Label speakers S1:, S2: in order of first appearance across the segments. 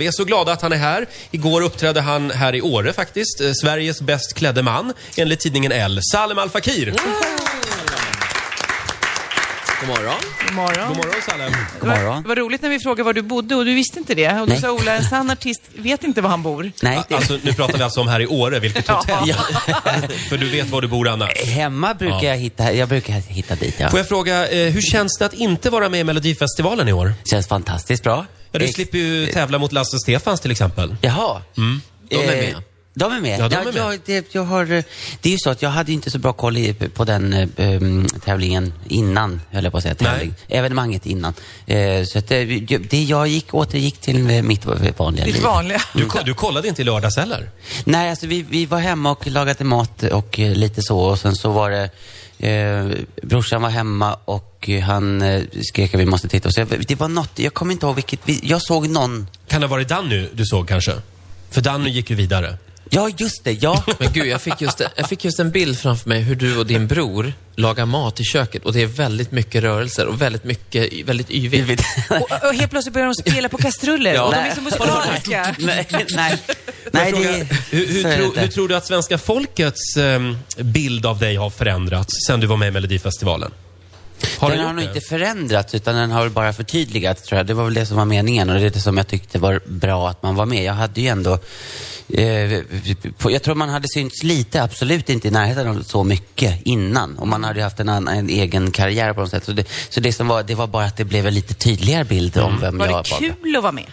S1: är så glada att han är här. Igår uppträdde han här i Åre faktiskt. Eh, Sveriges bäst klädde man, enligt tidningen L. Salem Al Fakir.
S2: God morgon.
S3: God morgon.
S1: God morgon Salem.
S3: Det
S4: God
S3: var,
S4: morgon.
S3: det var roligt när vi frågade var du bodde och du visste inte det. Och då
S4: Nej.
S3: sa Ola, en sann artist vet inte var han bor.
S4: Nej, det...
S1: Alltså, nu pratar vi alltså om här i Åre, vilket hotell. För du vet var du bor annars.
S4: hemma brukar
S1: Ja.
S4: jag hitta, jag brukar hitta dit. Ja.
S1: Får jag fråga, eh, hur känns det att inte vara med i Melodifestivalen i år?
S4: Känns fantastiskt bra.
S1: Ja, du
S4: Ex-
S1: slipper Mm. ju tävla mot Lasse Stefans till exempel.
S4: Jaha.
S2: De är med.
S4: Eh, De är med.
S1: Ja, de är med.
S4: Jag, det, jag har, eh, det är ju så att jag hade ju inte så bra koll i, på den eh, ehm, tävlingen innan, höll jag på att säga. Tävling. Evenemanget innan. Eh, så att det, det jag gick, återgick till eh, mitt vanliga
S3: Ditt
S4: liv.
S3: vanliga.
S1: Du, ko- du kollade inte i lördags heller?
S4: Nej, alltså vi, vi var hemma och lagade mat och eh, lite så. Och sen så var det, eh, brorsan var hemma och eh, han eh, skrek att vi måste titta. Och Så jag, det var något, jag kommer inte ihåg vilket, vi, jag såg någon.
S1: Kan det ha varit Danny du såg kanske? För Danny gick ju vidare.
S4: Ja, just det, ja.
S2: Men gud, jag fick, just, jag fick just en bild framför mig hur du och din bror lagar mat i köket och det är väldigt mycket rörelser och väldigt mycket, väldigt yvigt.
S3: Och, och helt plötsligt börjar de spela på kastruller.
S2: Ja.
S3: och de är
S4: Nej.
S3: så musikaliska.
S4: nej, nej. nej
S1: Fråga,
S4: det,
S1: hur, hur,
S4: så är det
S1: tro,
S4: inte.
S1: hur tror du att svenska folkets ehm, bild av dig har förändrats sen du var med i Melodifestivalen? Har
S4: den
S1: gjort
S4: har nog
S1: det?
S4: inte förändrats utan den har väl bara förtydligats tror jag. Det var väl det som var meningen och det är det som jag tyckte var bra att man var med. Jag hade ju ändå, eh, på, jag tror man hade synts lite, absolut inte i närheten av så mycket innan. Och man hade ju haft en, annan, en egen karriär på något sätt. Så det, så det som var, det var bara att det blev en lite tydligare bild
S1: Mm.
S4: om vem
S3: Var
S4: jag
S3: det kul att vara med?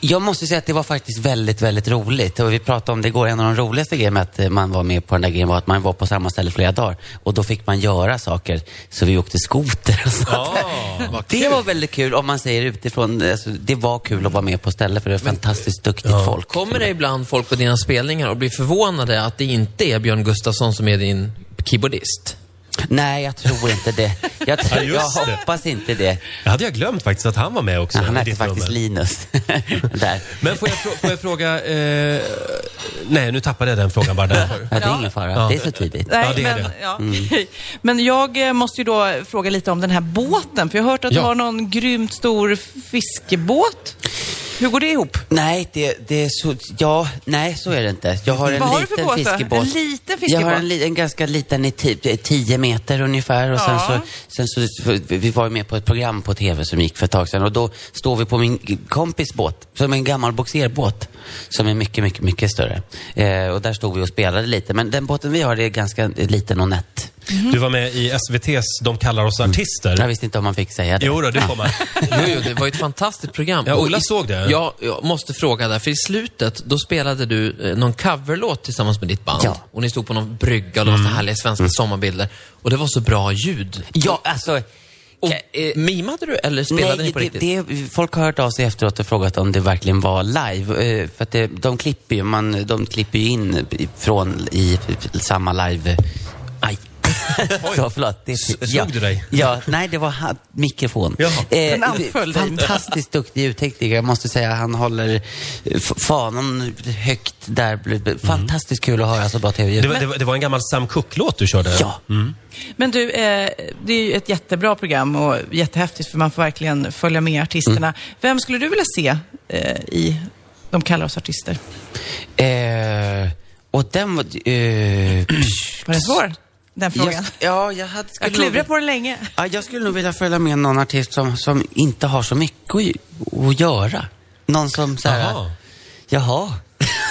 S4: jag måste säga att det var faktiskt väldigt, väldigt roligt. Och vi pratade om det igår, en av de roligaste grejerna med att eh, man var med på den där grejen var att man var på samma ställe flera dagar. Och då fick man göra saker, så vi åkte skoter och sånt där. Det var väldigt kul, om man säger utifrån. Alltså, det var kul att vara med på stället, för det är fantastiskt duktigt folk.
S2: Kommer det ibland folk på dina spelningar och blir förvånade att det inte är Björn Gustafsson som är din keyboardist?
S4: Nej, jag tror inte det. Jag, tror,
S1: Ja,
S4: jag
S1: just det.
S4: hoppas inte det.
S1: Det hade jag glömt faktiskt att han var med också.
S4: Han
S1: i
S4: hette
S1: ditt
S4: faktiskt
S1: nummer.
S4: Linus. där.
S1: Men får jag, frå- får jag fråga... Eh, nej, nu tappade jag den frågan bara. Där.
S4: Ja, det
S3: Ja.
S4: är ingen fara.
S1: Ja.
S4: Det är så tidigt.
S3: Nej,
S1: Ja, det är
S3: men,
S1: det.
S3: Ja. men jag eh, måste ju då fråga lite om den här båten, för jag har hört att
S1: Ja.
S3: du har någon grymt stor fiskebåt. Hur går det ihop?
S4: Nej, det, det är så... Ja, nej, så är det inte. Jag har en
S3: Vad har du för
S4: liten
S3: båt då?
S4: fiskebåt.
S3: En liten fiskebåt?
S4: Jag har en, li, en ganska liten, i ti- det är 10 meter ungefär. Och sen,
S3: Ja.
S4: så, sen så, för- vi var ju med på ett program på TV som gick för ett tag sedan. Och då står vi på min g- kompis båt, som är en gammal boxerbåt. Som är mycket, mycket, mycket större. Eh, och där stod vi och spelade lite. Men den båten vi har, det är ganska eh, liten och nätt.
S1: Du var med i SVT's De kallar oss
S4: Mm. Jag
S1: artister.
S4: visste inte om man fick säga det.
S1: Jo då, du kommer.
S2: Jo, jo, det var ju ett fantastiskt program.
S1: Ja,
S2: Och
S1: Ola
S2: i-
S1: såg det.
S2: Ja, jag måste fråga där, för i slutet, då spelade du eh, någon coverlåt tillsammans med ditt band.
S4: Ja.
S2: Och ni stod på någon brygga och det var så
S1: Mm.
S2: härliga svenska sommarbilder. Och det var så bra ljud.
S4: Ja, alltså...
S2: Och,
S4: Ka-
S2: eh, mimade du eller spelade ni på
S4: det,
S2: riktigt?
S4: Det, folk har hört av sig efteråt och frågat om det verkligen var live. eh, För att det, de, klipper ju, man, de klipper ju in i- från i samma live... Aj. Så, förlåt. Det, ja.
S1: slog du dig?
S4: Ja, nej, det var han, mikrofon. Eh,
S1: Jaha.
S3: Den anföll dig.
S4: fantastiskt duktig ljudtekniker. Jag måste säga, han håller eh, f- fanan högt där. Fantastiskt kul att höra så bra tv-ljud.
S1: Mm. Det var, Mm. det, var, det var en gammal Sam Cooke-låt du körde.
S4: Ja.
S3: Men du, eh, det är ju ett jättebra program och jättehäftigt för man får verkligen följa med artisterna. Vem skulle du vilja se eh, i De kallar oss artister?
S4: Eh, och den var... Eh,
S3: Var den svår, den frågan?
S4: Jag, ja, jag hade... skulle
S3: Jag klurade
S4: nog-
S3: på den länge.
S4: Ja, jag skulle nog vilja följa med någon artist som, som inte har så mycket att, gö- att göra. Någon som såhär,
S1: Jaha.
S4: jaha. jaha.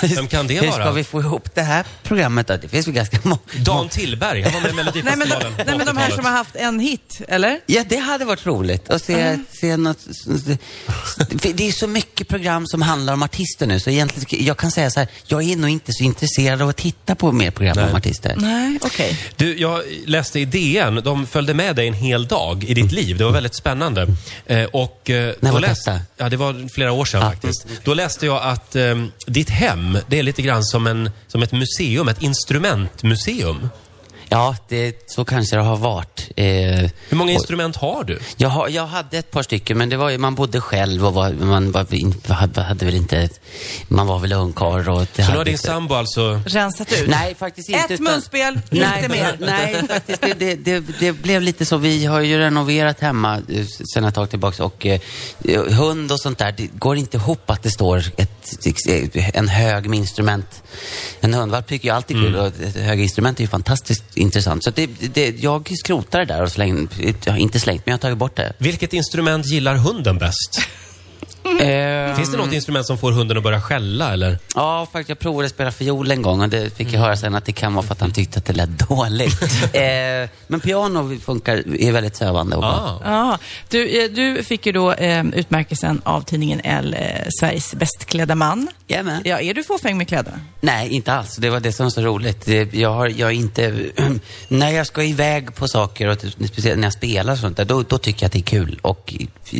S1: Vem kan det
S4: Hur
S1: vara?
S4: ska vi få ihop det här programmet då? Det finns väl ganska många.
S1: Dan Tillberg, han var med i
S3: Nej men, de,
S1: Melodifestivalen på
S3: nej, men de här
S1: 80-talet.
S3: som har haft en hit, eller?
S4: Ja, det hade varit roligt att se, se något. s- s- för Det är så mycket program som handlar om artister nu, så egentligen, ska- jag kan säga så här, jag är nog inte så intresserad av att titta på mer program om artister.
S3: Nej, okej.
S1: Du, jag läste i DN, de följde med dig en hel dag i ditt liv. Det var väldigt spännande. Eh, och, eh,
S4: När
S1: då
S4: var
S1: läs-
S4: detta? Ah.
S1: Ja, det var flera år sedan
S4: Ja.
S1: faktiskt. Då läste jag att eh, ditt hem, det är lite grann som, en, som ett museum, ett instrumentmuseum.
S4: Ja, det, så kanske det har varit. Eh,
S1: Hur många
S4: och-
S1: instrument har du?
S4: Jag, har- jag hade ett par stycken, men det var ju, man bodde själv och var, man var, in- hade hade väl inte... Man var väl ungkarl och... Det
S1: Så nu
S4: hade
S1: har din
S4: inte-
S1: sambo alltså...
S3: Rensat ut?
S4: Nej, faktiskt inte.
S3: Ett
S4: utan-
S3: munspel, inte mer.
S4: Nej, faktiskt. Det, det, det, det blev lite så. Vi har ju renoverat hemma eh, sen ett tag tillbaka och eh, hund och sånt där, det går inte ihop att det står ett, eh, en hög med instrument. En hundvalp tycker jag alltid är kul och ett höga instrument är ju fantastiskt intressant. Så det, det, jag skrotar det där och släng, jag har inte slängt, men jag har tagit bort det.
S1: Vilket instrument gillar hunden bäst?
S4: Ehm.
S1: Finns det något instrument som får hunden att börja skälla eller?
S4: Ja, faktiskt. Jag provade att spela fiol en gång och det fick jag höra sen att det kan vara för att han tyckte att det lät dåligt. eh, men piano funkar, är väldigt sövande och bra.
S1: Ah.
S3: Ja, du, eh, du fick ju då eh, utmärkelsen av tidningen L, eh, Sveriges bästklädda man.
S4: Jajamän.
S3: Ja, är du fåfäng med kläderna?
S4: Nej, inte alls. Det var det som var så roligt. Det- Jag, har, jag är inte... när jag ska iväg på saker, och typ- speciellt när jag spelar och sånt där, då, då tycker jag att det är kul och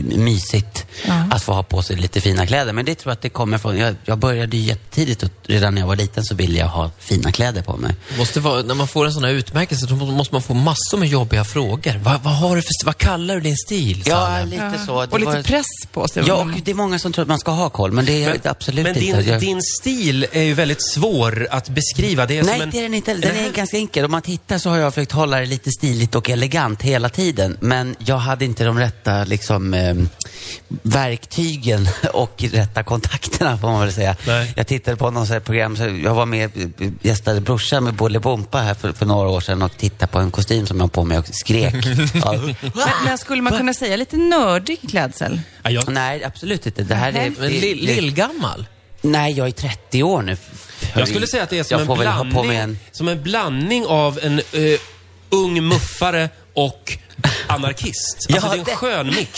S4: mysigt att få ha på sig lite fina kläder. Men det tror jag att det kommer från... Jag, jag började ju jättetidigt och redan när jag var liten så ville jag ha fina kläder på mig.
S2: Måste vara, när man får en sån här utmärkelse då må- måste man få massor med jobbiga frågor. Va, vad, har du för, st- vad kallar du din stil?
S4: Ja,
S2: Sanne?
S4: lite så. Det
S3: Och lite
S4: var-
S3: press på sig.
S4: Ja, och det är många som tror att man ska ha koll, men det är jag absolut
S1: Mm. men din,
S4: inte. Jag-
S1: din stil är ju väldigt svår att beskriva. alltså, Det är
S4: Nej,
S1: som en...
S4: det är den inte. Den är ganska enkel. Om man tittar så har jag försökt hålla det lite stiligt och elegant hela tiden. Men jag hade inte de rätta liksom, eh, verktygen och rätta kontakterna får man väl säga.
S1: Nej.
S4: Jag tittade på något sånt här program, så jag var med, gästade brorsan med Bolibompa här för, för några år sedan och tittade på en kostym som jag har på mig och skrek. ja.
S3: Men, men skulle man kunna säga lite nördig klädsel?
S1: Ja, jag...
S4: Nej, absolut inte. Det här är...
S2: Men lill, lillgammal?
S4: Nej, jag är 30 år nu.
S1: Jag skulle säga att det är som,
S4: jag
S1: en
S4: får väl ha
S1: blandning,
S4: på mig en...
S1: som en blandning av en eh, ung muffare och anarkist. Alltså
S4: Ja,
S1: det är en
S4: det-
S1: skön mix.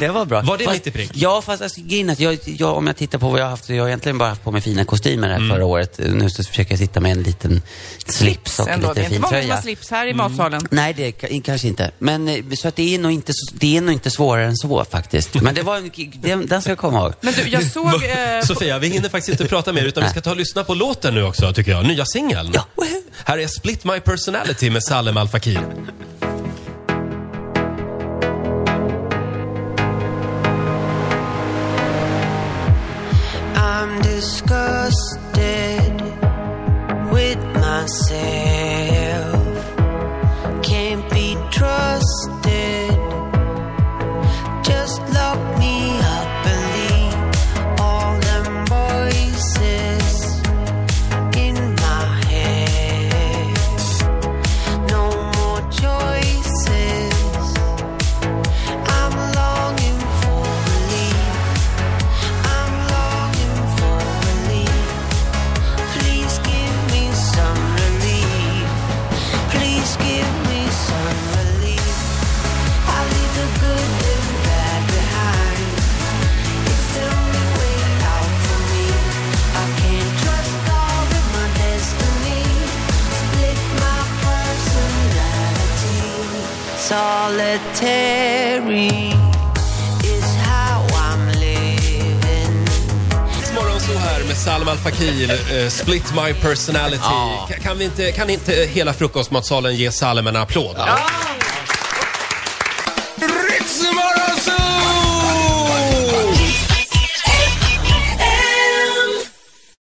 S4: Det var bra.
S1: Var det
S4: fast,
S1: mitt i prick?
S4: Ja, fast alltså, grejen är att jag, jag, om jag tittar på vad jag har haft, jag har egentligen bara haft på mig fina kostymer
S1: Mm.
S4: här förra året. Nu så försöker jag sitta med en liten slips och
S3: Ändå, det
S4: lite
S3: är inte
S4: Mm. fin
S3: många som har
S4: tröja.
S3: slips här i matsalen.
S4: Nej, det ka- kanske inte. Men eh, så att det är nog inte, så- det är nog inte svårare än så faktiskt. Men det var en, den, den ska jag komma ihåg.
S3: Men du, jag såg... Eh,
S1: Sofia, vi hinner faktiskt inte prata mer utan vi ska ta och lyssna på låten nu också, tycker jag. Nya singeln.
S4: Ja.
S1: Här är Split My Personality med Salem Al Fakir.
S5: I'm disgusted with myself. Can't be trusted. Just lock me up and leave all them voices in my head. No more choices. I'm longing for relief. I'm longing for relief. Please give me some relief. Please give me some relief. I leave the good and bad behind. It's the only way out for me. I can't trust all of my destiny. Split my personality. Solitary is how I'm living.
S1: Morgonzoo här med Salem Al Fakir, eh, Split eh, My Personality. Ka- Kan, vi inte, kan inte hela frukostmatsalen ge Salem en applåd? Ja.
S5: E